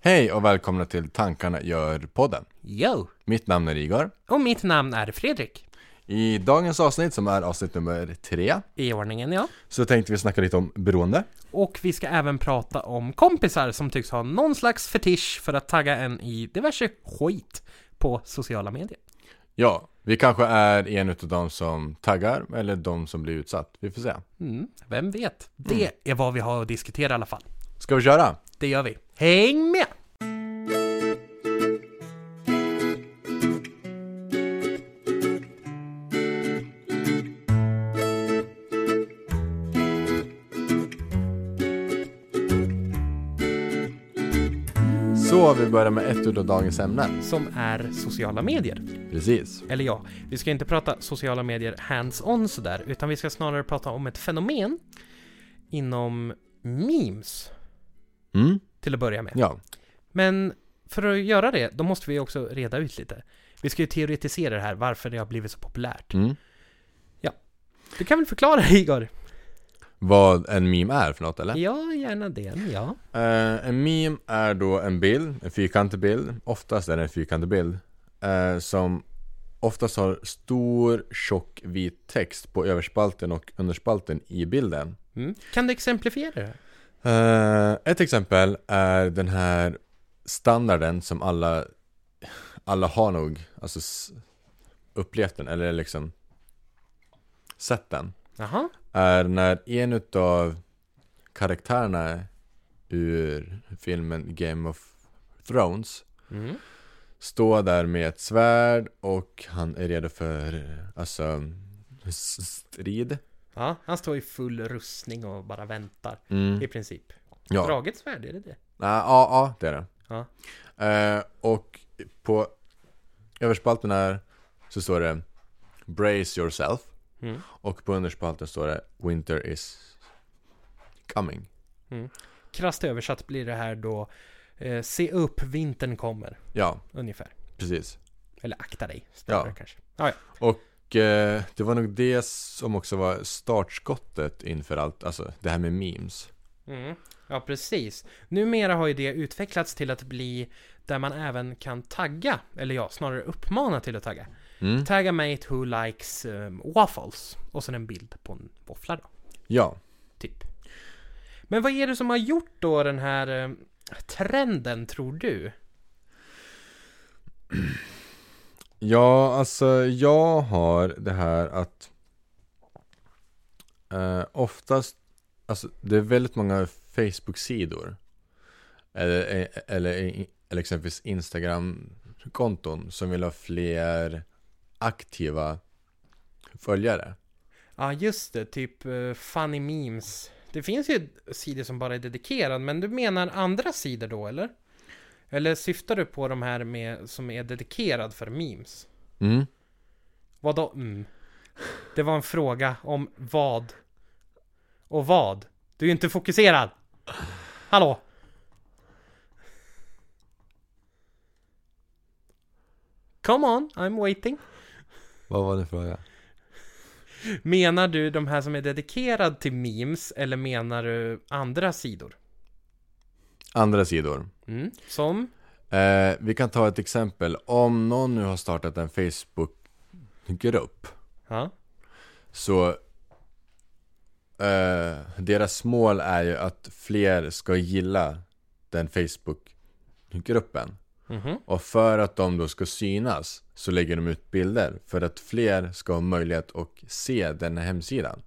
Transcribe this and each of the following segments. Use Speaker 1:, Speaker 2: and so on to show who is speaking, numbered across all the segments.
Speaker 1: Hej och välkomna till Tankarna gör-podden.
Speaker 2: Yo!
Speaker 1: Mitt namn är Igor.
Speaker 2: Och mitt namn är Fredrik.
Speaker 1: I dagens avsnitt, som är avsnitt nummer tre,
Speaker 2: I ordningen ja.
Speaker 1: så tänkte vi snacka lite om beroende.
Speaker 2: Och vi ska även prata om kompisar som tycks ha någon slags fetisch för att tagga en i diverse skit på sociala medier.
Speaker 1: Ja, vi kanske är en utav de som taggar eller de som blir utsatt. Vi får se.
Speaker 2: Mm, vem vet? Det är vad vi har att diskutera i alla fall.
Speaker 1: Ska vi köra?
Speaker 2: Det gör vi. Häng med!
Speaker 1: Så vi börjar med ett utav dagens ämnen.
Speaker 2: Som är sociala medier.
Speaker 1: Precis.
Speaker 2: Eller ja, vi ska inte prata sociala medier hands-on sådär, utan vi ska snarare prata om ett fenomen inom memes
Speaker 1: Mm.
Speaker 2: till att börja med.
Speaker 1: Ja,
Speaker 2: Men för att göra det, då måste vi också reda ut lite. Vi ska ju teoretisera det här, varför det har blivit så populärt.
Speaker 1: mm.
Speaker 2: Du kan väl förklara Igor?
Speaker 1: vad en meme är för något eller?
Speaker 2: Ja, gärna det, ja.
Speaker 1: Eh, en meme är då en bild, en fyrkantig bild, oftast är det en fyrkantig bild, eh, som oftast har stor tjock vit text på överspalten och underspalten i bilden.
Speaker 2: Mm. Kan du exemplifiera det? här?
Speaker 1: Eh, ett exempel är den här standarden som alla, alla har nog, alltså s- upplevt den, eller liksom sett den.
Speaker 2: Jaha,
Speaker 1: är när en utav karaktärerna ur filmen Game of Thrones
Speaker 2: mm.
Speaker 1: står där med ett svärd och han är redo för, alltså, s- strid.
Speaker 2: ja. Han står i full rustning och bara väntar,
Speaker 1: Mm.
Speaker 2: i princip.
Speaker 1: Ja.
Speaker 2: Draget svärd, är det det?
Speaker 1: Nej, ja, ja, det är det.
Speaker 2: Ja.
Speaker 1: Eh, och på överspalten här så står det Brace yourself
Speaker 2: Mm.
Speaker 1: och på underspalten står det Winter is coming.
Speaker 2: Krasst översatt blir det här då, eh, se upp, vintern kommer,
Speaker 1: Ja,
Speaker 2: ungefär.
Speaker 1: precis.
Speaker 2: Eller akta dig, snarare
Speaker 1: Ja.
Speaker 2: kanske. Ja, ja.
Speaker 1: Och eh, det var nog det som också var startskottet inför allt, alltså det här med memes.
Speaker 2: Mm. Ja, precis. Numera har ju det utvecklats till att bli där man även kan tagga, eller ja, snarare uppmana till att tagga.
Speaker 1: Mm.
Speaker 2: Tagga mig who likes um, waffles och sen en bild på en våffla då,
Speaker 1: Ja,
Speaker 2: typ. Men vad är det som har gjort då den här um, trenden, tror du?
Speaker 1: ja alltså jag har det här att eh, oftast, alltså det är väldigt många Facebook-sidor eller, eller, eller exempelvis Instagram-konton som vill ha fler aktiva följare.
Speaker 2: Ja, just det, typ eh, funny memes. Det finns ju sidor som bara är dedikerade, men du menar andra sidor då, eller? Eller syftar du på de här med, som är dedikerad för memes?
Speaker 1: Mm.
Speaker 2: Vadå mm? Det var en fråga om vad och vad. Du är ju inte fokuserad. Hallå? Come on, I'm waiting.
Speaker 1: Vad var din fråga?
Speaker 2: Menar du de här som är dedikerad till memes eller menar du andra sidor?
Speaker 1: Andra sidor.
Speaker 2: Mm. Som?
Speaker 1: Eh, vi kan ta ett exempel. Om någon nu har startat en Facebookgrupp
Speaker 2: Ja.
Speaker 1: så eh, deras mål är ju att fler ska gilla den Facebookgruppen.
Speaker 2: Mhm.
Speaker 1: Och för att de då ska synas så lägger de ut bilder för att fler ska ha möjlighet att se den här hemsidan.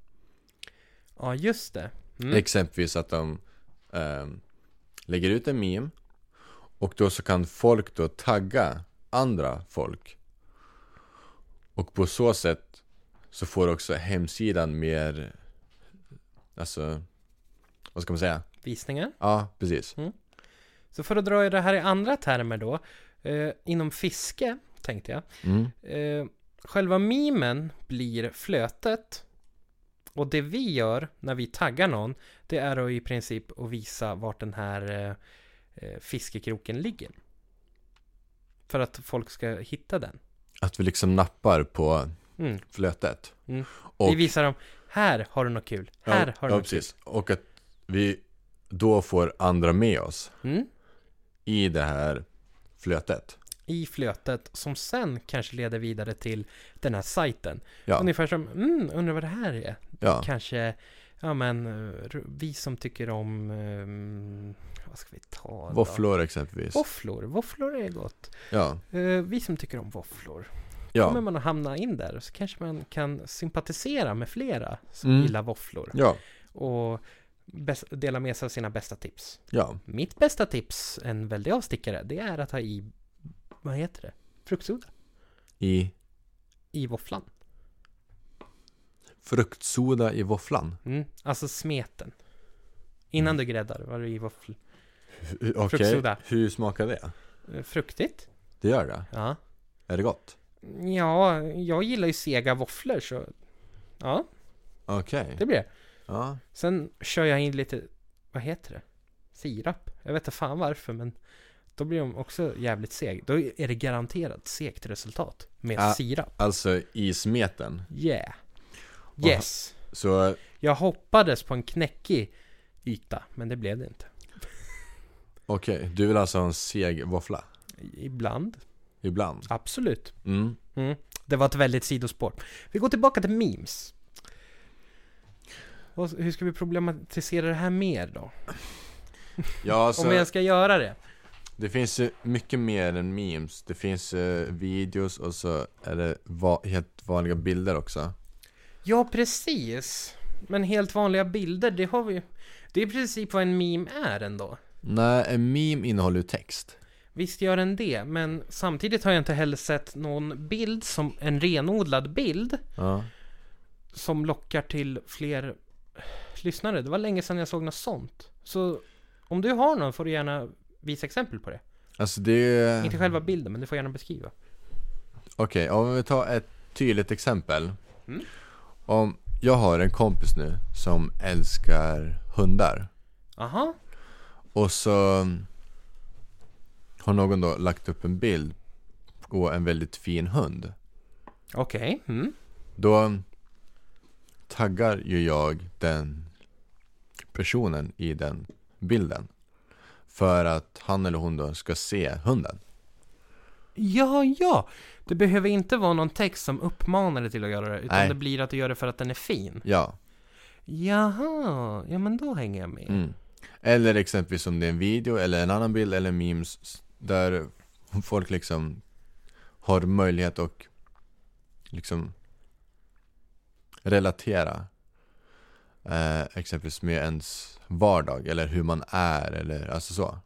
Speaker 2: Ja, just det. Mm.
Speaker 1: Exempelvis att de ehm, lägger ut en meme och då så kan folk då tagga andra folk. Och på så sätt så får också hemsidan mer, alltså, vad ska man säga?
Speaker 2: Visningar.
Speaker 1: Ja, precis.
Speaker 2: Så för att dra det här i andra termer då. Eh, inom fiske, tänkte jag.
Speaker 1: Mm.
Speaker 2: Eh, själva mimen blir flötet. Och det vi gör när vi taggar någon, det är att i princip att visa vart den här eh, eh, fiskekroken ligger. För att folk ska hitta den.
Speaker 1: Att vi liksom nappar på
Speaker 2: Mm.
Speaker 1: flötet.
Speaker 2: Mm.
Speaker 1: Och,
Speaker 2: Vi visar dem, här har du något kul, här
Speaker 1: ja,
Speaker 2: har du
Speaker 1: ja,
Speaker 2: något kul.
Speaker 1: precis. Och att vi då får andra med oss.
Speaker 2: Mm.
Speaker 1: i det här flötet.
Speaker 2: i flötet som sen kanske leder vidare till den här sajten.
Speaker 1: Ja,
Speaker 2: Ungefär som, mm, undrar vad det här är.
Speaker 1: ja,
Speaker 2: Kanske, ja men, eh, r- vi som tycker om, ehm, vad ska vi ta då?
Speaker 1: våfflor exempelvis.
Speaker 2: Våfflor, våfflor är gott.
Speaker 1: Ja,
Speaker 2: Eh, vi som tycker om våfflor. Kommer
Speaker 1: ja,
Speaker 2: man att hamna in där så kanske man kan sympatisera med flera som
Speaker 1: Mm.
Speaker 2: gillar våfflor.
Speaker 1: ja,
Speaker 2: Och bäst, dela med sig av sina bästa tips.
Speaker 1: ja,
Speaker 2: Mitt bästa tips, en väldig avstickare, det är att ha i, vad heter det? Fruktsoda.
Speaker 1: i
Speaker 2: i våfflan.
Speaker 1: fruktsoda i våfflan.
Speaker 2: Mm. Alltså smeten. Innan
Speaker 1: Mm.
Speaker 2: du gräddar var det i våffl.
Speaker 1: Hu- Okej,
Speaker 2: Fruktsoda.
Speaker 1: hur smakar det?
Speaker 2: Eh, Fruktigt.
Speaker 1: Det gör det.
Speaker 2: Ja.
Speaker 1: Är det gott?
Speaker 2: Ja, jag gillar ju sega våfflor så ja,
Speaker 1: Okej.
Speaker 2: det blir det.
Speaker 1: Ja,
Speaker 2: Sen kör jag in lite, vad heter det? Sirap. Jag vet inte fan varför men då blir de också jävligt seg. Då är det garanterat segt resultat med
Speaker 1: Ja.
Speaker 2: sirap.
Speaker 1: alltså i smeten.
Speaker 2: Yeah. Yes.
Speaker 1: Så
Speaker 2: Jag hoppades på en knäckig yta men det blev det inte.
Speaker 1: okej, du vill alltså ha en seg våffla?
Speaker 2: Ibland.
Speaker 1: Ibland?
Speaker 2: Absolut.
Speaker 1: Mm.
Speaker 2: Mm. Det var ett väldigt sidospår. Vi går tillbaka till memes. Och hur ska vi problematisera det här mer då?
Speaker 1: Ja, alltså,
Speaker 2: Om jag ska göra det?
Speaker 1: det finns ju mycket mer än memes. Det finns eh, videos och så är det va- helt vanliga bilder också.
Speaker 2: Ja, precis. Men helt vanliga bilder, det har vi ju. Det är i princip vad en meme är ändå.
Speaker 1: Nej, en meme innehåller ju text.
Speaker 2: Visst gör den det, men samtidigt har jag inte heller sett någon bild som en renodlad bild
Speaker 1: Ja.
Speaker 2: som lockar till fler lyssnare. Det var länge sedan jag såg något sånt. Så om du har någon får du gärna visa exempel på det.
Speaker 1: Alltså det är
Speaker 2: Inte själva bilden, men du får gärna beskriva.
Speaker 1: Okej, om vi tar ett tydligt exempel.
Speaker 2: Mm.
Speaker 1: Om jag har en kompis nu som älskar hundar.
Speaker 2: Aha,
Speaker 1: Och så har någon då lagt upp en bild på en väldigt fin hund.
Speaker 2: okej. Mm.
Speaker 1: Då taggar ju jag den personen i den bilden. För att han eller hon då ska se hunden.
Speaker 2: Ja, ja. Det behöver inte vara någon text som uppmanar dig till att göra det, utan
Speaker 1: Nej.
Speaker 2: det blir att du gör det för att den är fin.
Speaker 1: Ja.
Speaker 2: Jaha, ja men då hänger jag med.
Speaker 1: Mm. Eller exempelvis om det är en video eller en annan bild eller memes s- där folk liksom har möjlighet att liksom relatera eh, exempelvis med ens vardag eller hur man är eller alltså så.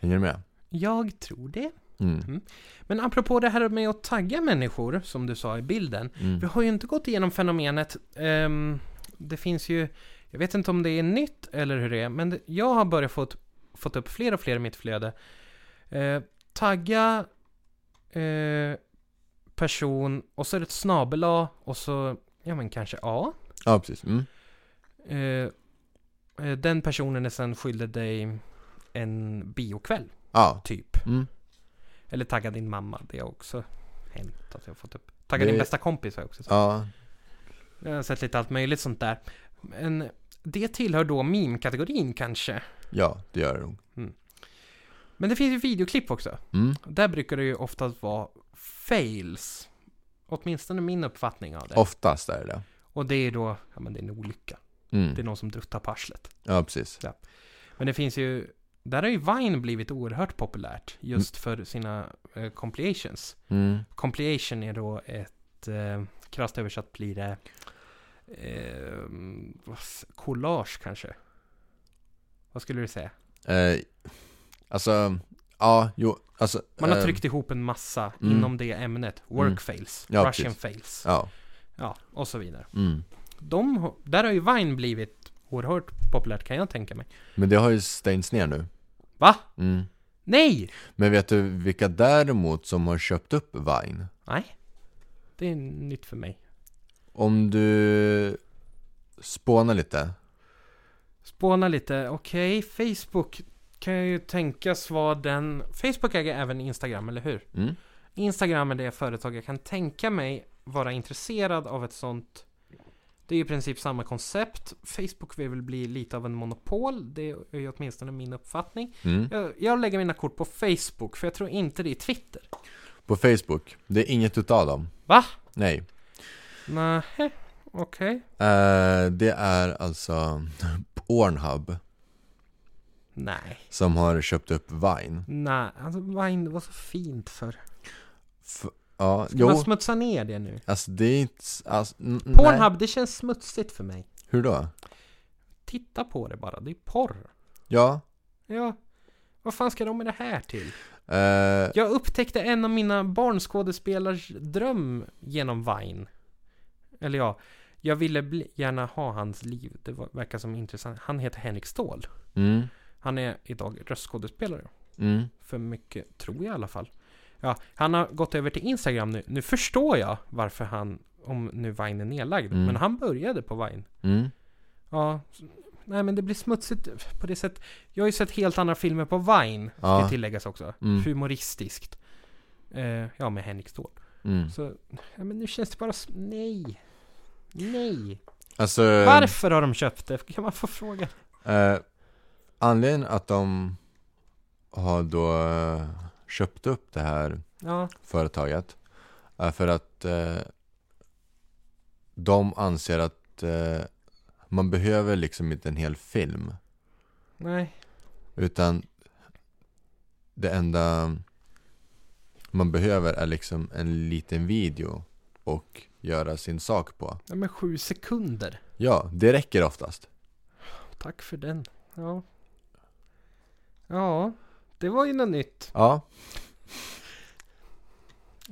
Speaker 1: Hänger du med?
Speaker 2: Jag tror det.
Speaker 1: Mm.
Speaker 2: Men apropå det här med att tagga människor, som du sa i bilden.
Speaker 1: Mm.
Speaker 2: Vi har ju inte gått igenom fenomenet, ehm, det finns ju, jag vet inte om det är nytt eller hur det är, men det- jag har börjat fått, fått upp fler och fler i mitt flöde. Eh, tagga eh, person och så är det ett snabel A och så, ja men kanske A.
Speaker 1: Ja, precis. Mm.
Speaker 2: Eh, eh, den personen är sen skyldig dig en biokväll,
Speaker 1: Ja.
Speaker 2: typ.
Speaker 1: Mm.
Speaker 2: Eller tagga din mamma, det har också hänt att jag har fått upp. Tagga
Speaker 1: Det-
Speaker 2: din bästa kompis har jag också sett.
Speaker 1: Ja.
Speaker 2: Jag har sett lite allt möjligt sånt där. Men det tillhör då meme-kategorin kanske.
Speaker 1: Ja, det gör det nog.
Speaker 2: Men det finns ju videoklipp också.
Speaker 1: Mm.
Speaker 2: Där brukar det ju oftast vara fails. Åtminstone min uppfattning av det.
Speaker 1: Oftast är det det.
Speaker 2: Och det är då, ja men det är en olycka. Det är
Speaker 1: Mm.
Speaker 2: någon som druttar på arslet.
Speaker 1: Ja, precis.
Speaker 2: Men det finns ju, där har ju Vine blivit oerhört populärt. Just för sina eh, compilations.
Speaker 1: Mm.
Speaker 2: Compilation är då ett, eh, krasst översatt blir det eh, vad s- collage kanske. Vad skulle du säga?
Speaker 1: Eh, alltså, ja, jo, alltså.
Speaker 2: Man har
Speaker 1: eh,
Speaker 2: tryckt ihop en massa
Speaker 1: mm.
Speaker 2: inom det ämnet. Work
Speaker 1: Mm.
Speaker 2: fails,
Speaker 1: Ja,
Speaker 2: Russian
Speaker 1: precis.
Speaker 2: fails,
Speaker 1: Ja.
Speaker 2: ja och så vidare.
Speaker 1: Mm.
Speaker 2: De, har- där har ju Vine blivit oerhört populärt kan jag tänka mig.
Speaker 1: Men det har ju stängts ner nu.
Speaker 2: Va?
Speaker 1: Mm.
Speaker 2: Nej!
Speaker 1: Men vet du vilka däremot som har köpt upp Vine?
Speaker 2: Nej. Det är nytt för mig.
Speaker 1: Om du spånar lite.
Speaker 2: Spåna lite, okej, Facebook kan jag ju tänkas vara den... Facebook äger även Instagram, eller hur?
Speaker 1: Mm.
Speaker 2: Instagram är det företag jag kan tänka mig vara intresserad av ett sånt Det är ju i princip samma koncept. Facebook vill väl bli lite av en monopol. Det är ju åtminstone min uppfattning.
Speaker 1: Mm.
Speaker 2: Jag, jag lägger mina kort på Facebook för jag tror inte det är Twitter.
Speaker 1: På Facebook, det är inget utav dem.
Speaker 2: Va?
Speaker 1: Nej.
Speaker 2: Nej, okej.
Speaker 1: Eh, det är alltså Pornhub
Speaker 2: Nej.
Speaker 1: som har köpt upp Vine.
Speaker 2: Nej, alltså Vine, det var så fint för.
Speaker 1: F- ja,
Speaker 2: Ska man
Speaker 1: jo.
Speaker 2: smutsa ner det nu?
Speaker 1: Alltså det är inte... Alltså, n- n- Nej.
Speaker 2: Pornhub, det känns smutsigt för mig.
Speaker 1: Hur då?
Speaker 2: Titta på det bara, det är porr.
Speaker 1: Ja.
Speaker 2: Ja. Vad fan ska de med det här till?
Speaker 1: eh,
Speaker 2: Jag upptäckte en av mina barnskådespelardröm genom Vine. Eller ja, jag ville bli, gärna ha hans liv. Det var, verkar som intressant. Han heter Henrik Ståhl.
Speaker 1: mm,
Speaker 2: Han är idag röstskådespelare.
Speaker 1: mm.
Speaker 2: För mycket, tror jag i alla fall. Ja, han har gått över till Instagram nu. Nu förstår jag varför han, om nu Vine är nedlagd.
Speaker 1: Mm.
Speaker 2: Men han började på Vine.
Speaker 1: Mm.
Speaker 2: Ja, s- nej men det blir smutsigt på det sättet. Jag har ju sett helt andra filmer på Vine, ska
Speaker 1: Ja.
Speaker 2: tilläggas också.
Speaker 1: Mm.
Speaker 2: Humoristiskt. Eh, ja, med Henrik Ståhl.
Speaker 1: Mm.
Speaker 2: Så, ja, men nu känns det bara... s- Nej. Nej.
Speaker 1: Alltså,
Speaker 2: Varför har de köpt det? Kan man få fråga?
Speaker 1: eh, anledningen att de har då eh, köpt upp det här
Speaker 2: Ja,
Speaker 1: företaget är för att eh, de anser att eh, man behöver liksom inte en hel film
Speaker 2: nej.
Speaker 1: utan det enda man behöver är liksom en liten video och göra sin sak på.
Speaker 2: Ja, men sju sekunder.
Speaker 1: Ja, det räcker oftast.
Speaker 2: Tack för den. Ja. Ja, det var ju något nytt.
Speaker 1: Ja,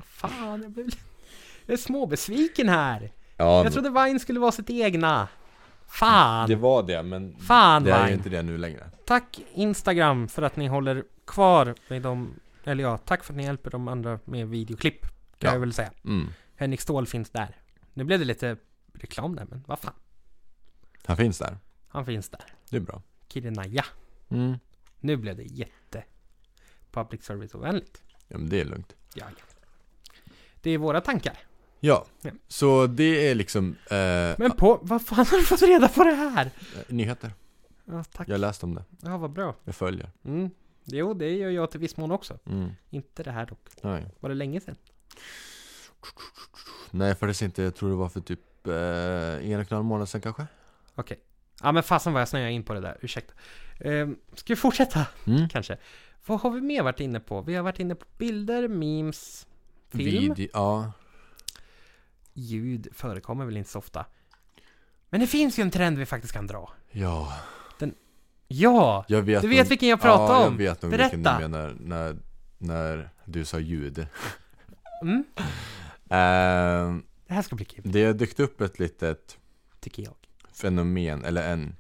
Speaker 2: Fan, jag blev... Jag är småbesviken här.
Speaker 1: ja
Speaker 2: Jag trodde Vine skulle vara sitt egna. Fan.
Speaker 1: det var det men
Speaker 2: Fan
Speaker 1: det är ju
Speaker 2: Vine.
Speaker 1: inte det nu längre.
Speaker 2: Tack Instagram för att ni håller kvar med de, eller ja, tack för att ni hjälper de andra med videoklipp. Kan
Speaker 1: Ja.
Speaker 2: jag väl säga.
Speaker 1: Mm.
Speaker 2: Henrik Ståhl finns där. Nu blev det lite reklam där, men vad fan.
Speaker 1: Han finns där.
Speaker 2: Han finns där.
Speaker 1: Det är bra.
Speaker 2: Kirinaya.
Speaker 1: Mm.
Speaker 2: Nu blev det jätte public service ovänligt.
Speaker 1: Ja, men det är lugnt.
Speaker 2: Ja, ja. Det är våra tankar.
Speaker 1: Ja,
Speaker 2: Ja.
Speaker 1: så det är liksom eh,
Speaker 2: Men på, vad fan har du fått reda på det här?
Speaker 1: nyheter.
Speaker 2: Ja, tack.
Speaker 1: Jag har läst om det.
Speaker 2: Ja, vad bra.
Speaker 1: Jag följer.
Speaker 2: Mm. Jo, det gör jag till viss mån också.
Speaker 1: Mm.
Speaker 2: Inte det här dock.
Speaker 1: Nej.
Speaker 2: Var det länge sedan?
Speaker 1: Nej, för det är inte, jag tror det var för typ eh, en och en halv månad sedan kanske.
Speaker 2: Okej. Ja men fasen vad jag snöade in på det där, ursäkta. Ehm, ska vi fortsätta
Speaker 1: Mm.
Speaker 2: kanske? Vad har vi mer varit inne på? Vi har varit inne på bilder, memes, film.
Speaker 1: Video, ja.
Speaker 2: Ljud förekommer väl inte så ofta. Men det finns ju en trend vi faktiskt kan dra.
Speaker 1: Ja,
Speaker 2: Ja!
Speaker 1: jag vet
Speaker 2: Du vet
Speaker 1: nog-
Speaker 2: vilken jag pratar
Speaker 1: ja,
Speaker 2: om.
Speaker 1: jag vet nog vilken du
Speaker 2: Berätta.
Speaker 1: menar när, när du sa ljud.
Speaker 2: Mm.
Speaker 1: Eh,
Speaker 2: Det här ska bli kul,
Speaker 1: det har dykt upp ett litet
Speaker 2: tycker jag.
Speaker 1: fenomen eller en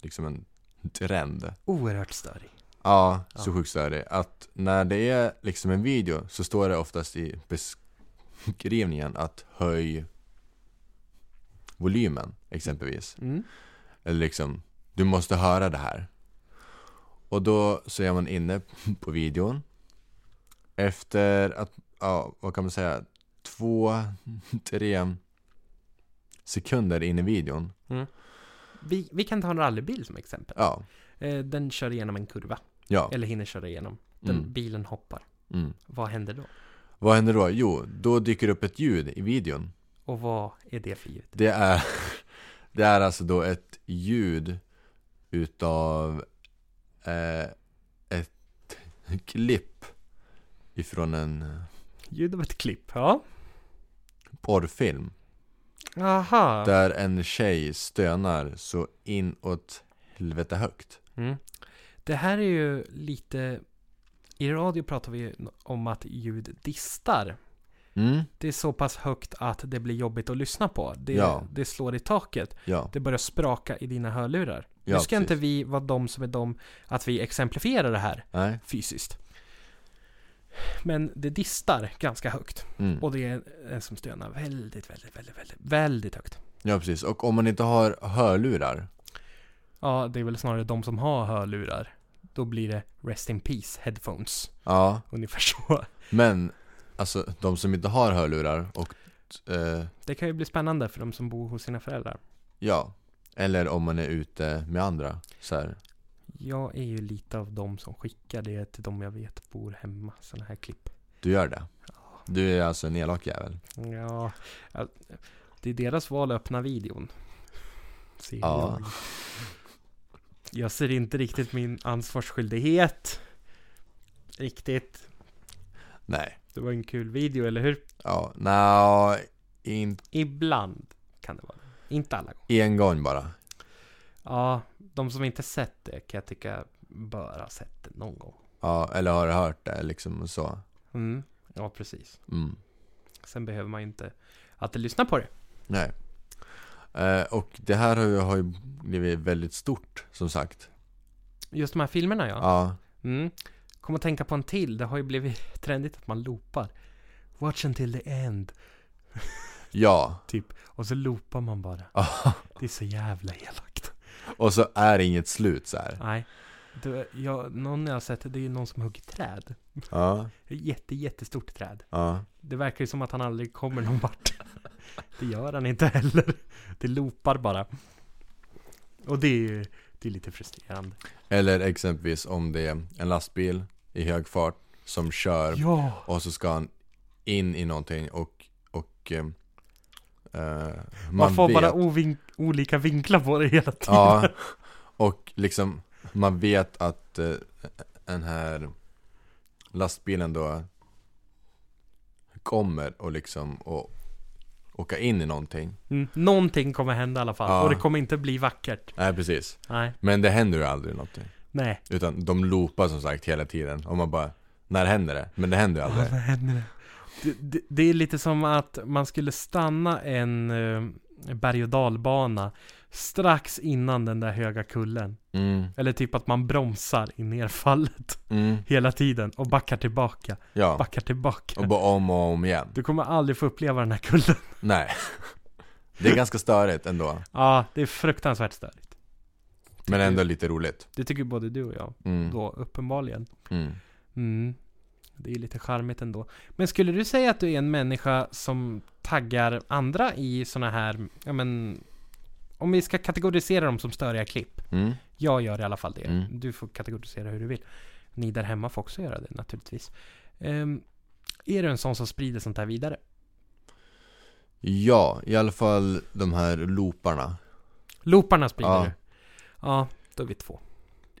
Speaker 1: liksom en trend.
Speaker 2: Oerhört störig.
Speaker 1: Ja,
Speaker 2: Ja.
Speaker 1: så sjukt är det. Att när det är liksom en video så står det oftast i beskrivningen att höj volymen exempelvis.
Speaker 2: Mm.
Speaker 1: Eller liksom, du måste höra det här. Och då så är man inne på videon. Efter att, ja, vad kan man säga, två, tre sekunder in i videon.
Speaker 2: Vi, vi kan ta en rallybil som exempel.
Speaker 1: Ja,
Speaker 2: Eh, den kör igenom en kurva.
Speaker 1: ja.
Speaker 2: Eller hinner köra igenom. Den
Speaker 1: Mm,
Speaker 2: bilen hoppar.
Speaker 1: mm.
Speaker 2: Vad händer då?
Speaker 1: Vad händer då? Jo, då dyker det upp ett ljud i videon.
Speaker 2: Och vad är det för ljud?
Speaker 1: Det är, det är alltså då ett ljud utav eh, ett klipp ifrån en
Speaker 2: Ljud av ett klipp, ja.
Speaker 1: porrfilm.
Speaker 2: Aha.
Speaker 1: Där en tjej stönar så inåt helvete högt.
Speaker 2: Mm. Det här är ju lite... I radio pratar vi ju om att ljud distar.
Speaker 1: Mm,
Speaker 2: Det är så pass högt att det blir jobbigt att lyssna på. Det,
Speaker 1: Ja.
Speaker 2: det slår i taket.
Speaker 1: ja.
Speaker 2: Det börjar spraka i dina hörlurar.
Speaker 1: ja
Speaker 2: nu ska
Speaker 1: precis.
Speaker 2: inte vi vara de som är de att vi exemplifierar det här
Speaker 1: Nej.
Speaker 2: fysiskt. Men det distar ganska högt.
Speaker 1: Mm.
Speaker 2: Och det är en som stönar väldigt, väldigt, väldigt, väldigt, väldigt högt.
Speaker 1: Ja, precis. Och om man inte har hörlurar.
Speaker 2: Ja, det är väl snarare de som har hörlurar. Då blir det Rest in Peace headphones.
Speaker 1: Ja,
Speaker 2: Ungefär så.
Speaker 1: men alltså de som inte har hörlurar och eh,
Speaker 2: Det kan ju bli spännande för de som bor hos sina föräldrar.
Speaker 1: ja. Eller om man är ute med andra. Så här.
Speaker 2: Jag är ju lite av de som skickar det till de jag vet bor hemma, sådana här klipp.
Speaker 1: Du gör det? Du är alltså en elak jävel?
Speaker 2: Ja, ja, det är deras val att öppna videon. Ser
Speaker 1: Ja.
Speaker 2: jag. Jag ser inte riktigt min ansvarsskyldighet. Riktigt.
Speaker 1: Nej.
Speaker 2: Det var en kul video, eller hur?
Speaker 1: Ja, nja, in,
Speaker 2: Ibland kan det vara Inte alla gånger.
Speaker 1: en gång bara.
Speaker 2: Ja, de som inte sett det kan jag tycka bör ha sett det någon gång.
Speaker 1: Ja, eller har hört det liksom och så.
Speaker 2: Mm. Ja, precis.
Speaker 1: Mm.
Speaker 2: Sen behöver man ju inte att lyssna på det.
Speaker 1: Nej. Eh, och det här har ju, har ju blivit väldigt stort som sagt.
Speaker 2: Just de här filmerna ja.
Speaker 1: Ja.
Speaker 2: Mm. Kom att tänka på en till. Det har ju blivit trendigt att man loopar. Watch until the end.
Speaker 1: Ja.
Speaker 2: Typ. Och så loopar man bara.
Speaker 1: Ja.
Speaker 2: Det är så jävla elakt.
Speaker 1: och så är det inget slut så här.
Speaker 2: Nej. Det, jag, någon jag har sett, det är ju någon som hugger träd.
Speaker 1: Ja.
Speaker 2: Ett Jätte, jättestort träd.
Speaker 1: Ja.
Speaker 2: Det verkar ju som att han aldrig kommer någon vart. Det gör han inte heller. Det loopar bara. Och det är ju det är lite frustrerande.
Speaker 1: Eller exempelvis om det är en lastbil i hög fart som kör
Speaker 2: Ja!
Speaker 1: och så ska han in i någonting och, och eh, eh, man
Speaker 2: man får
Speaker 1: vet,
Speaker 2: bara ovin- olika vinklar på det hela tiden.
Speaker 1: Ja, och liksom man vet att eh, den här lastbilen då kommer och liksom och åka in i någonting.
Speaker 2: Mm, någonting kommer hända i alla fall.
Speaker 1: Ja.
Speaker 2: Och det kommer inte bli vackert.
Speaker 1: Nej, precis.
Speaker 2: Nej.
Speaker 1: Men det händer ju aldrig någonting.
Speaker 2: Nej.
Speaker 1: Utan de loopar som sagt hela tiden. Och man bara, när händer det? Men det händer ju
Speaker 2: Ja,
Speaker 1: aldrig.
Speaker 2: vad händer det? Det, det, det är lite som att man skulle stanna en eh, berg och dalbana strax innan den där höga kullen.
Speaker 1: Mm,
Speaker 2: Eller typ att man bromsar i nerfallet
Speaker 1: mm,
Speaker 2: hela tiden och backar tillbaka.
Speaker 1: ja.
Speaker 2: backar tillbaka.
Speaker 1: Och bara om och om igen.
Speaker 2: Du kommer aldrig få uppleva den här kullen.
Speaker 1: Nej. Det är ganska störigt ändå.
Speaker 2: Ja, det är fruktansvärt störigt.
Speaker 1: Men ändå lite roligt.
Speaker 2: Det tycker både du och jag.
Speaker 1: Mm,
Speaker 2: Då, uppenbarligen.
Speaker 1: mm.
Speaker 2: Mm. Det är ju lite charmigt ändå. Men skulle du säga att du är en människa som taggar andra i såna här, ja men, om vi ska kategorisera dem som störiga klipp.
Speaker 1: Mm.
Speaker 2: Jag gör i alla fall det.
Speaker 1: Mm.
Speaker 2: Du får kategorisera hur du vill. Ni där hemma får också göra det naturligtvis. Ehm, är du en sån som sprider sånt här vidare?
Speaker 1: Ja, i alla fall de här looparna.
Speaker 2: Looparna sprider
Speaker 1: Ja.
Speaker 2: du? Ja, då är vi två.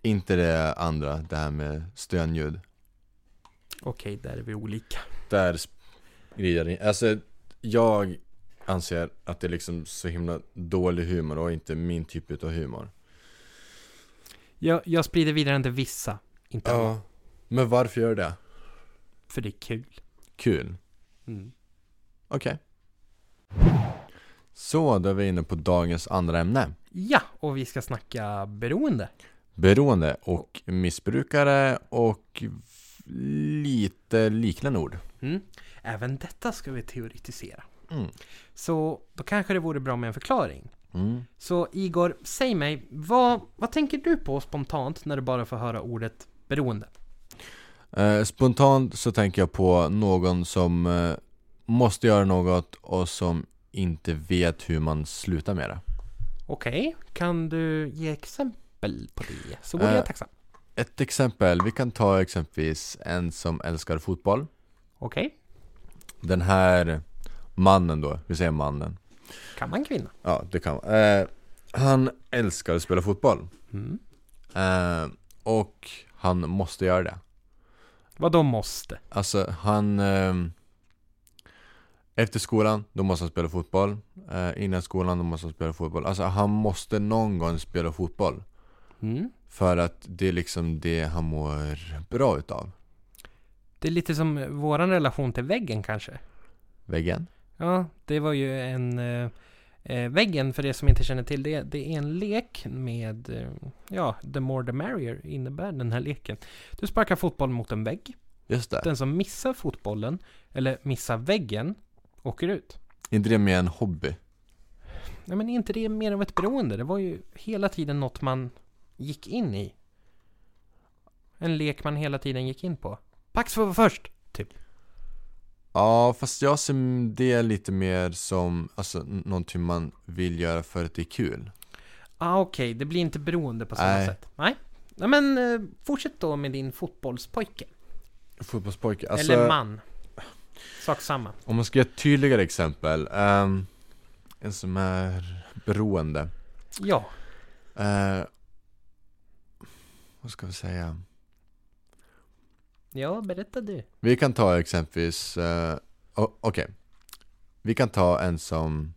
Speaker 1: Inte det andra, det här med stönljud.
Speaker 2: Okej, där är vi olika.
Speaker 1: Där sprider det. Alltså, jag anser att det är liksom så himla dålig humor och inte min typ utav humor.
Speaker 2: Jag, jag sprider vidare inte vissa, inte alla,
Speaker 1: Men varför gör du det?
Speaker 2: för det är kul.
Speaker 1: Kul.
Speaker 2: Mm.
Speaker 1: Okej. Så, då är vi inne på dagens andra ämne.
Speaker 2: Ja, och vi ska snacka beroende.
Speaker 1: Beroende och missbrukare och lite liknande ord.
Speaker 2: Mm. Även detta ska vi teoretisera.
Speaker 1: Mm.
Speaker 2: Så då kanske det vore bra med en förklaring.
Speaker 1: Mm.
Speaker 2: Så Igor, säg mig, vad, vad tänker du på spontant när du bara får höra ordet beroende?
Speaker 1: Eh, spontant så tänker jag på någon som eh, måste göra något och som inte vet hur man slutar med det.
Speaker 2: Okej, kan du ge exempel på det? Så vore
Speaker 1: Eh.
Speaker 2: jag tacksam.
Speaker 1: Ett exempel, vi kan ta exempelvis en som älskar fotboll.
Speaker 2: Okej,
Speaker 1: Den här mannen då, vi säger mannen.
Speaker 2: kan man kvinna?
Speaker 1: Ja, det kan vara. Eh, han älskar att spela fotboll.
Speaker 2: Mm.
Speaker 1: Eh, och han måste göra det.
Speaker 2: Vad de måste?
Speaker 1: Alltså han ehm, Efter skolan, då måste han spela fotboll eh, Innan skolan, då måste han spela fotboll Alltså han måste någon gång spela fotboll
Speaker 2: Mm.
Speaker 1: För att det är liksom det han mår bra utav
Speaker 2: Det är lite som eh, våran relation till väggen kanske.
Speaker 1: Väggen?
Speaker 2: Ja, det var ju en... eh, Eh, väggen, för er som inte känner till det, det är en lek med... Eh, ja, the more the merrier innebär den här leken. Du sparkar fotboll mot en vägg.
Speaker 1: Just det,
Speaker 2: Den som missar fotbollen, eller missar väggen, åker ut.
Speaker 1: inte det med en hobby?
Speaker 2: Nej men är inte det mer av ett beroende? Det var ju hela tiden något man gick in i. En lek man hela tiden gick in på. Pax får vara först! Typ.
Speaker 1: Ja, Ja, fast jag ser det lite mer som alltså, n- någonting man vill göra för att det är kul.
Speaker 2: Ah, Okej, det blir inte beroende på samma
Speaker 1: Nej.
Speaker 2: sätt. Nej. Ja, men eh, fortsätt då med din fotbollspojke.
Speaker 1: Fotbollspojke, alltså,
Speaker 2: Eller man. Sak samma.
Speaker 1: om man ska ge ett tydligare exempel. ehm, en som är beroende.
Speaker 2: Ja.
Speaker 1: Eh, vad ska vi säga?
Speaker 2: Ja, berätta du.
Speaker 1: Vi kan ta exempelvis, eh, o- okej. Vi kan ta en som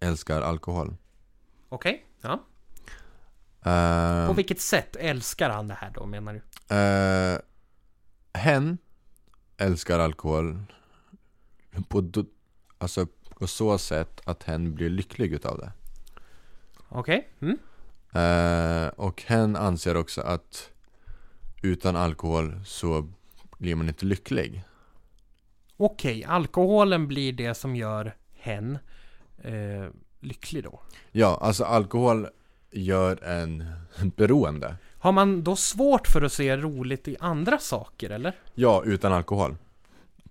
Speaker 1: älskar alkohol.
Speaker 2: Okej. Ja.
Speaker 1: Eh,
Speaker 2: På vilket sätt älskar han det här då menar du?
Speaker 1: eh, hen älskar alkohol på, do, alltså, på så sätt att hen blir lycklig utav det.
Speaker 2: Okej. Mm.
Speaker 1: Eh, och hen anser också att utan alkohol så blir man inte lycklig.
Speaker 2: Okej, alkoholen blir det som gör hen eh, lycklig då.
Speaker 1: Ja, alltså alkohol gör en beroende.
Speaker 2: Har man då svårt för att se roligt i andra saker eller?
Speaker 1: Ja, utan alkohol.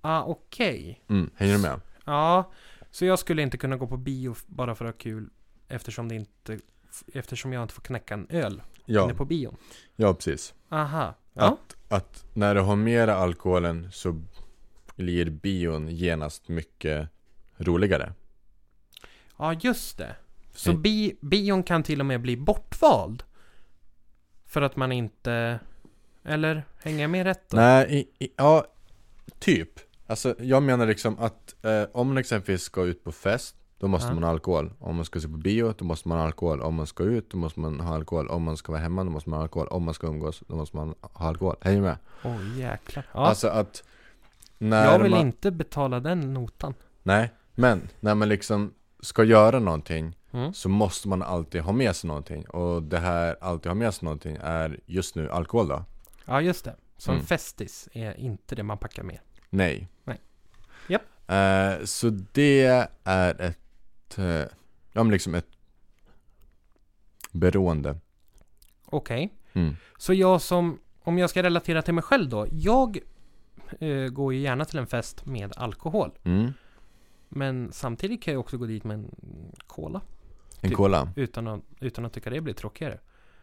Speaker 2: Ah, okej.
Speaker 1: Mm, hänger du med?
Speaker 2: Ja, så jag skulle inte kunna gå på bio f- bara för att ha kul eftersom det inte f- Eftersom jag inte får knäcka en öl
Speaker 1: Ja,
Speaker 2: inne på bion.
Speaker 1: ja precis.
Speaker 2: Aha. Ja.
Speaker 1: Att när du har mera alkoholen så blir bion genast mycket roligare.
Speaker 2: Ja, just det. Så
Speaker 1: Mm.
Speaker 2: bi, bion kan till och med bli bortvald. För att man inte... Eller? Hänger jag med rätt då?
Speaker 1: Nej, i, i, ja, typ. Alltså jag menar liksom att eh, om man exempelvis ska ut på fest, då måste
Speaker 2: Ja.
Speaker 1: man ha alkohol. Om man ska se på bio, då måste man ha alkohol. Om man ska ut, då måste man ha alkohol. Om man ska vara hemma, då måste man ha alkohol. Om man ska umgås, då måste man ha alkohol. Hänger du med?
Speaker 2: Åh jäklar. Ja,
Speaker 1: Alltså att när
Speaker 2: jag vill
Speaker 1: man,
Speaker 2: inte betala den notan.
Speaker 1: Nej, men när man liksom ska göra någonting
Speaker 2: Mm.
Speaker 1: så måste man alltid ha med sig någonting och det här alltid ha med sig någonting är just nu alkohol då?
Speaker 2: Ja, just det. Så en
Speaker 1: Mm.
Speaker 2: festis är inte det man packar med.
Speaker 1: Nej.
Speaker 2: Nej. Japp.
Speaker 1: Eh, så det är ett, eh, ja men liksom ett beroende.
Speaker 2: Okej.
Speaker 1: Mm.
Speaker 2: Så jag som, om jag ska relatera till mig själv då. Jag eh, går ju gärna till en fest med alkohol.
Speaker 1: Mm.
Speaker 2: Men samtidigt kan jag också gå dit med en cola.
Speaker 1: En
Speaker 2: Typ.
Speaker 1: cola.
Speaker 2: Utan att, utan att tycka det blir tråkigare.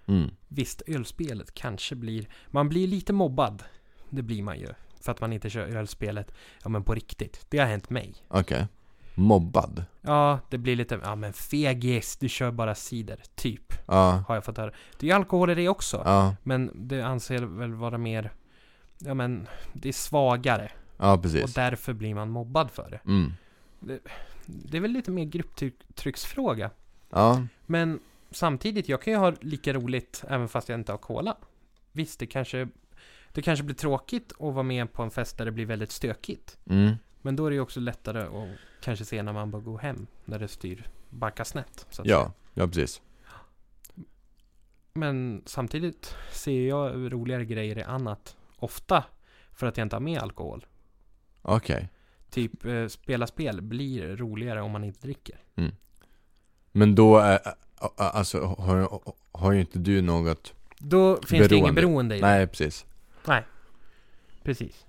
Speaker 1: Mm.
Speaker 2: Visst, ölspelet kanske blir... Man blir lite mobbad. Det blir man ju. För att man inte kör ölspelet. Ja men på riktigt. Det har hänt mig.
Speaker 1: Okej. Mobbad.
Speaker 2: Ja, det blir lite... Ja men fegis, du kör bara cider. Typ.
Speaker 1: Ja.
Speaker 2: Har jag fått höra. Det är ju alkohol i det också.
Speaker 1: Ja.
Speaker 2: Men det anser jag väl vara mer... Ja men, det är svagare.
Speaker 1: Ja
Speaker 2: Och
Speaker 1: precis.
Speaker 2: därför blir man mobbad för det.
Speaker 1: Mm.
Speaker 2: Det är väl lite mer grupptrycksfråga.
Speaker 1: Ja.
Speaker 2: Men samtidigt, jag kan ju ha lika roligt även fast jag inte har cola. Visst, det kanske, det kanske blir tråkigt att vara med på en fest där det blir väldigt stökigt.
Speaker 1: Mm.
Speaker 2: Men då är det ju också lättare att kanske se när man bör gå hem, när det styr backar snett. Så att säga.
Speaker 1: Ja. Ja precis.
Speaker 2: Men samtidigt ser jag roligare grejer i annat, ofta, för att jag inte har med alkohol.
Speaker 1: Okej.
Speaker 2: Typ eh, spela spel blir roligare om man inte dricker.
Speaker 1: Men då, är, ä- ä- alltså har, har ju inte du något
Speaker 2: Då finns det ingen
Speaker 1: Beroende.
Speaker 2: beroende i det.
Speaker 1: Nej precis
Speaker 2: Precis.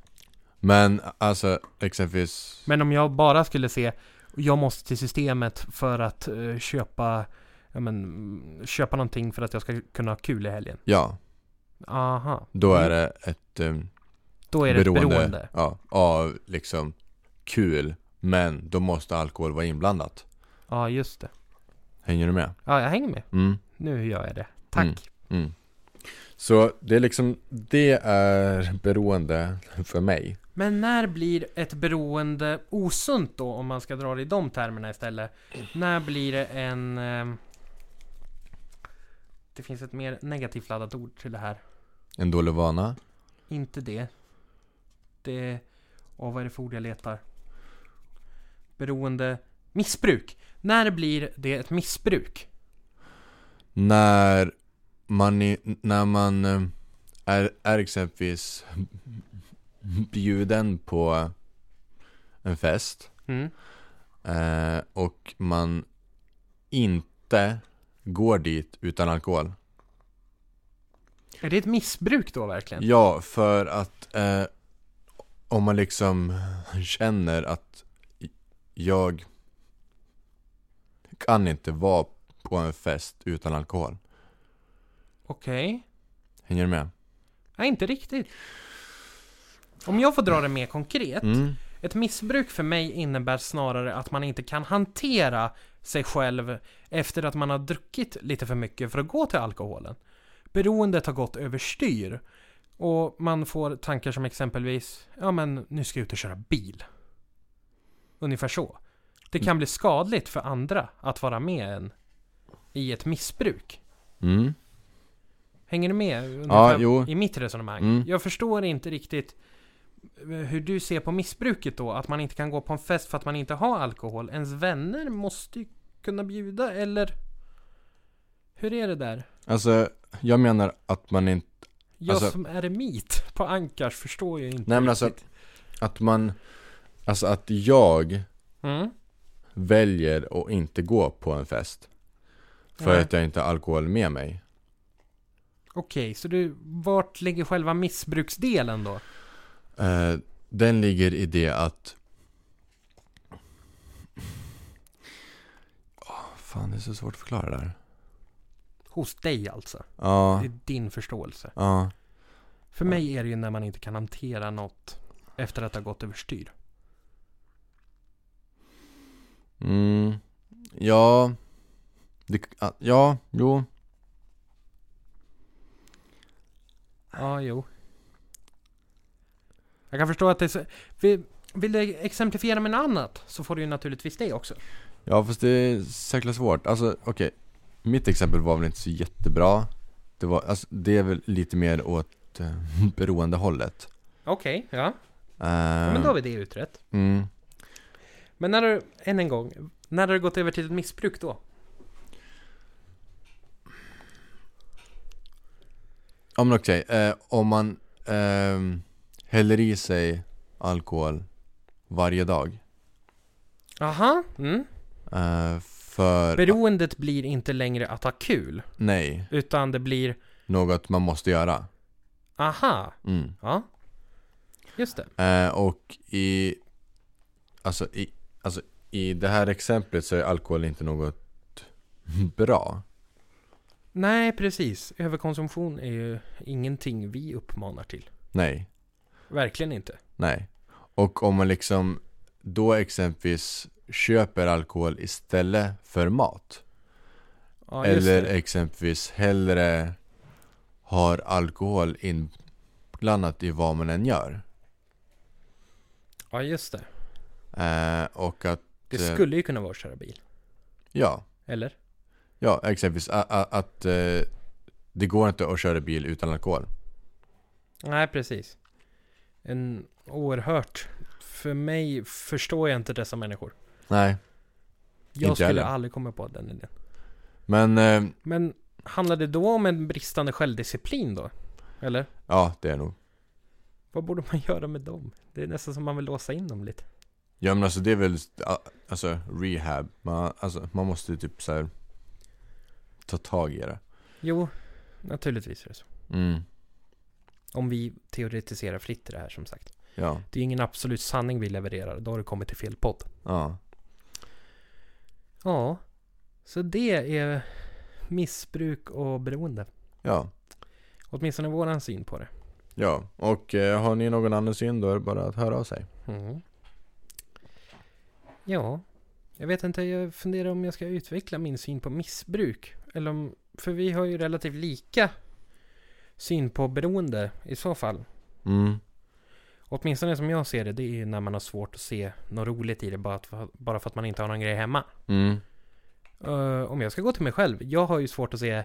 Speaker 1: Men alltså exempelvis
Speaker 2: Men om jag bara skulle se, jag måste till systemet för att eh, köpa, ja men, mm, köpa någonting för att jag ska kunna ha kul i helgen.
Speaker 1: Ja,
Speaker 2: Aha.
Speaker 1: då är det ett um,
Speaker 2: Mm. Då är det beroende.
Speaker 1: beroende,
Speaker 2: ett beroende.
Speaker 1: Ja, av liksom kul Men då måste alkohol vara inblandat
Speaker 2: Ja, just det.
Speaker 1: Hänger du med?
Speaker 2: Ja, jag hänger med.
Speaker 1: Mm,
Speaker 2: Nu gör jag det. Tack.
Speaker 1: Mm. mm. Så det är liksom, det är beroende för mig
Speaker 2: Men när blir ett beroende osunt då, om man ska dra det i de termerna istället? När blir det en... ehm, det finns ett mer negativt laddat ord till det här.
Speaker 1: En dålig vana
Speaker 2: Inte det. Det... Åh, vad är det för ord jag letar? Beroende... Missbruk! När blir det ett missbruk?
Speaker 1: När man, i- när man eh, är, är exempelvis bjuden på en fest
Speaker 2: Mm.
Speaker 1: eh, och man inte går dit utan alkohol.
Speaker 2: Är det ett missbruk då verkligen?
Speaker 1: Ja, för att eh, om man liksom känner att jag kan inte vara på en fest utan alkohol.
Speaker 2: Okej.
Speaker 1: Hänger du med?
Speaker 2: Nej, inte riktigt. Om jag får dra det mer konkret.
Speaker 1: Mm.
Speaker 2: Ett missbruk för mig innebär snarare att man inte kan hantera sig själv efter att man har druckit lite för mycket för att gå till alkoholen. Beroendet har gått överstyr och man får tankar som exempelvis ja men nu ska jag ut och köra bil. Ungefär så. Det kan bli skadligt för andra att vara med en i ett missbruk.
Speaker 1: Mm.
Speaker 2: Hänger du med ungefär
Speaker 1: jo.
Speaker 2: i mitt resonemang?
Speaker 1: Mm.
Speaker 2: Jag förstår inte riktigt eh, hur du ser på missbruket då, att man inte kan gå på en fest för att man inte har alkohol. Ens vänner måste ju kunna bjuda, eller? Hur är det där?
Speaker 1: Alltså, jag menar att man inte
Speaker 2: Jag
Speaker 1: Alltså-
Speaker 2: som är emit på Ankars förstår ju inte
Speaker 1: Nej, men alltså-
Speaker 2: riktigt.
Speaker 1: Att man, alltså att jag
Speaker 2: Mm.
Speaker 1: väljer att inte gå på en fest. För
Speaker 2: Nej.
Speaker 1: att jag inte har alkohol med mig.
Speaker 2: Okej, så du, vart ligger själva missbruksdelen då?
Speaker 1: Eh, den ligger i det att... Åh, fan, det är så svårt att förklara det här.
Speaker 2: Hos dig alltså?
Speaker 1: Ja,
Speaker 2: Det är din förståelse.
Speaker 1: ja.
Speaker 2: För mig är det ju när man inte kan hantera något efter att det har gått överstyr.
Speaker 1: Mm, ja. Det, ah, ja, jo.
Speaker 2: Ja, jo. Jag kan förstå att det är så... Vill, vill du exemplifiera med något annat så får du ju naturligtvis det också.
Speaker 1: Ja, fast det är så jäkla svårt. Alltså, okej. Mitt exempel var väl inte så jättebra. Det, var, alltså, det är väl lite mer åt eh, beroendehållet.
Speaker 2: Okej,
Speaker 1: Uh,
Speaker 2: ja. ja. Men då har vi det utrett.
Speaker 1: mm.
Speaker 2: Men när du, än en gång, när har du gått över till ett missbruk då?
Speaker 1: Ja men okej, eh, om man ehm, häller i sig alkohol varje dag
Speaker 2: Aha, mm.
Speaker 1: eh, för...
Speaker 2: Beroendet blir inte längre att ha kul,
Speaker 1: nej,
Speaker 2: utan det blir
Speaker 1: något man måste göra.
Speaker 2: aha,
Speaker 1: Mm.
Speaker 2: ja. Just det.
Speaker 1: Eh, och i alltså, i... alltså i det här exemplet så är alkohol inte något bra.
Speaker 2: Nej, precis. Överkonsumtion är ju ingenting vi uppmanar till.
Speaker 1: Nej,
Speaker 2: Verkligen inte.
Speaker 1: nej. Och om man liksom då exempelvis köper alkohol istället för mat.
Speaker 2: Ja, just
Speaker 1: Eller
Speaker 2: det.
Speaker 1: exempelvis hellre har alkohol inblandat i vad man än gör.
Speaker 2: Ja, just det.
Speaker 1: Eh, och att,
Speaker 2: Det
Speaker 1: Eh.
Speaker 2: skulle ju kunna vara att köra bil.
Speaker 1: ja,
Speaker 2: Eller?
Speaker 1: ja exempelvis a, a, att eh, det går inte att köra bil utan alkohol.
Speaker 2: Nej, precis. En oerhört... För mig förstår jag inte dessa människor.
Speaker 1: Nej,
Speaker 2: Jag
Speaker 1: Inte
Speaker 2: skulle
Speaker 1: heller.
Speaker 2: aldrig komma på den idén.
Speaker 1: men eh,
Speaker 2: Men handlar det då om en bristande självdisciplin då? Eller?
Speaker 1: ja det är nog.
Speaker 2: Vad borde man göra med dem? Det är nästan som man vill låsa in dem lite.
Speaker 1: Ja men alltså det är väl a- alltså rehab. Man, alltså, man måste typ så här ta tag i det.
Speaker 2: Jo, naturligtvis är det så.
Speaker 1: Mm,
Speaker 2: Om vi teoretiserar fritt i det här som sagt.
Speaker 1: ja,
Speaker 2: Det är ingen absolut sanning vi levererar. Då har du kommit till fel podd.
Speaker 1: ja.
Speaker 2: Ja, så det är missbruk och beroende.
Speaker 1: Ja,
Speaker 2: Åtminstone våran syn på det.
Speaker 1: ja. Och eh, har ni någon annan syn då är det bara att höra av sig.
Speaker 2: Mm. Ja, jag vet inte, jag funderar om jag ska utveckla min syn på missbruk. Eller om, för vi har ju relativt lika syn på beroende i så fall.
Speaker 1: Mm,
Speaker 2: Åtminstone som jag ser det, det är ju när man har svårt att se något roligt i det bara, att, bara för att man inte har någon grej hemma.
Speaker 1: mm,
Speaker 2: Eh, om jag ska gå till mig själv, jag har ju svårt att se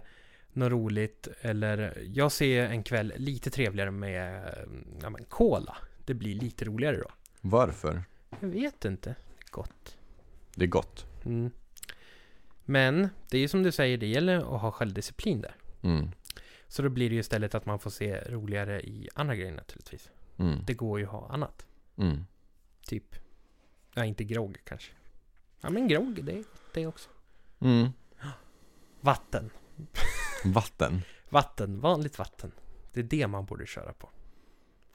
Speaker 2: något roligt eller jag ser en kväll lite trevligare med eh, ja, men cola. Det blir lite roligare då.
Speaker 1: varför?
Speaker 2: Jag vet inte. Gott.
Speaker 1: Det är gott.
Speaker 2: Mm. Men det är ju som du säger, det gäller att ha självdisciplin där.
Speaker 1: Mm.
Speaker 2: Så då blir det ju istället att man får se roligare i andra grejer naturligtvis.
Speaker 1: Mm.
Speaker 2: Det går ju att ha annat.
Speaker 1: Mm.
Speaker 2: Typ, ja inte grogg kanske. Ja men grogg, det, det också.
Speaker 1: Mm.
Speaker 2: Vatten.
Speaker 1: Vatten.
Speaker 2: Vatten, vanligt vatten. Det är det man borde köra på.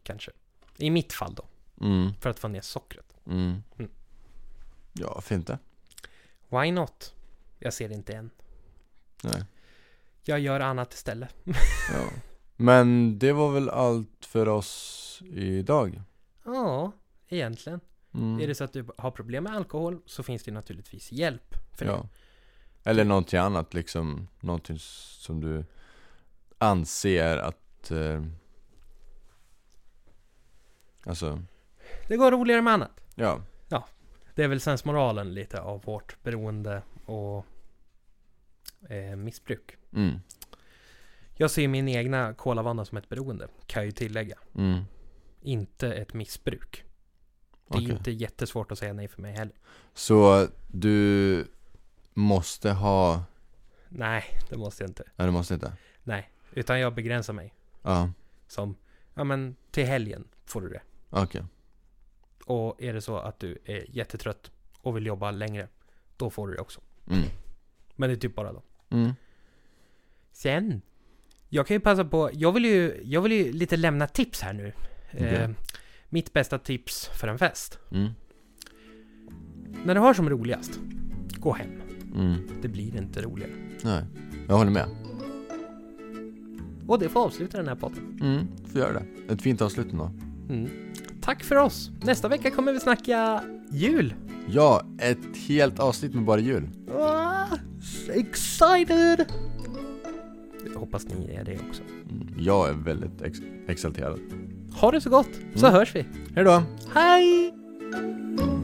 Speaker 2: Kanske. I mitt fall då.
Speaker 1: Mm,
Speaker 2: för att få ner sockret.
Speaker 1: mm.
Speaker 2: Mm.
Speaker 1: Ja, varför inte?
Speaker 2: Why not? Jag ser det inte än.
Speaker 1: Nej.
Speaker 2: Jag gör annat istället.
Speaker 1: Ja. Men det var väl allt för oss idag.
Speaker 2: Ja, egentligen.
Speaker 1: Mm.
Speaker 2: Är det så att du har problem med alkohol så finns det naturligtvis hjälp för det.
Speaker 1: ja. Eller någonting annat liksom. Någonting som du anser att... Eh, alltså,
Speaker 2: Det går roligare med annat.
Speaker 1: ja.
Speaker 2: Det är väl sensmoralen lite av vårt beroende och eh, missbruk.
Speaker 1: Mm.
Speaker 2: Jag ser min egna kolavana som ett beroende, kan jag ju tillägga.
Speaker 1: Mm.
Speaker 2: Inte ett missbruk. Det är
Speaker 1: Okej.
Speaker 2: ju inte jättesvårt att säga nej för mig heller.
Speaker 1: Så du måste ha...
Speaker 2: Nej, det måste jag inte.
Speaker 1: Nej, du måste inte.
Speaker 2: Nej, utan jag begränsar mig.
Speaker 1: Ja,
Speaker 2: Som, ja men till helgen får du det.
Speaker 1: okej.
Speaker 2: Och är det så att du är jättetrött och vill jobba längre, då får du det också.
Speaker 1: Mm.
Speaker 2: Men det är typ bara då.
Speaker 1: Mm.
Speaker 2: Sen, jag kan ju passa på, jag vill ju, jag vill ju lite lämna tips här nu.
Speaker 1: Okej.
Speaker 2: Eh, mitt bästa tips för en fest.
Speaker 1: Mm.
Speaker 2: När du har som roligast, gå hem.
Speaker 1: Mm.
Speaker 2: Det blir inte roligare.
Speaker 1: Nej, jag håller med.
Speaker 2: Och det får avsluta den här podden.
Speaker 1: Mm, får göra det. Ett fint avslut ändå.
Speaker 2: Mm. Tack för oss! Nästa vecka kommer vi snacka jul!
Speaker 1: Ja, ett helt avsnitt med bara jul.
Speaker 2: Ah, excited! Jag hoppas ni är det också.
Speaker 1: Mm. Jag är väldigt ex- exalterad.
Speaker 2: Ha det så gott, så
Speaker 1: Mm.
Speaker 2: hörs vi.
Speaker 1: Hej då!
Speaker 2: Hej!
Speaker 1: Mm.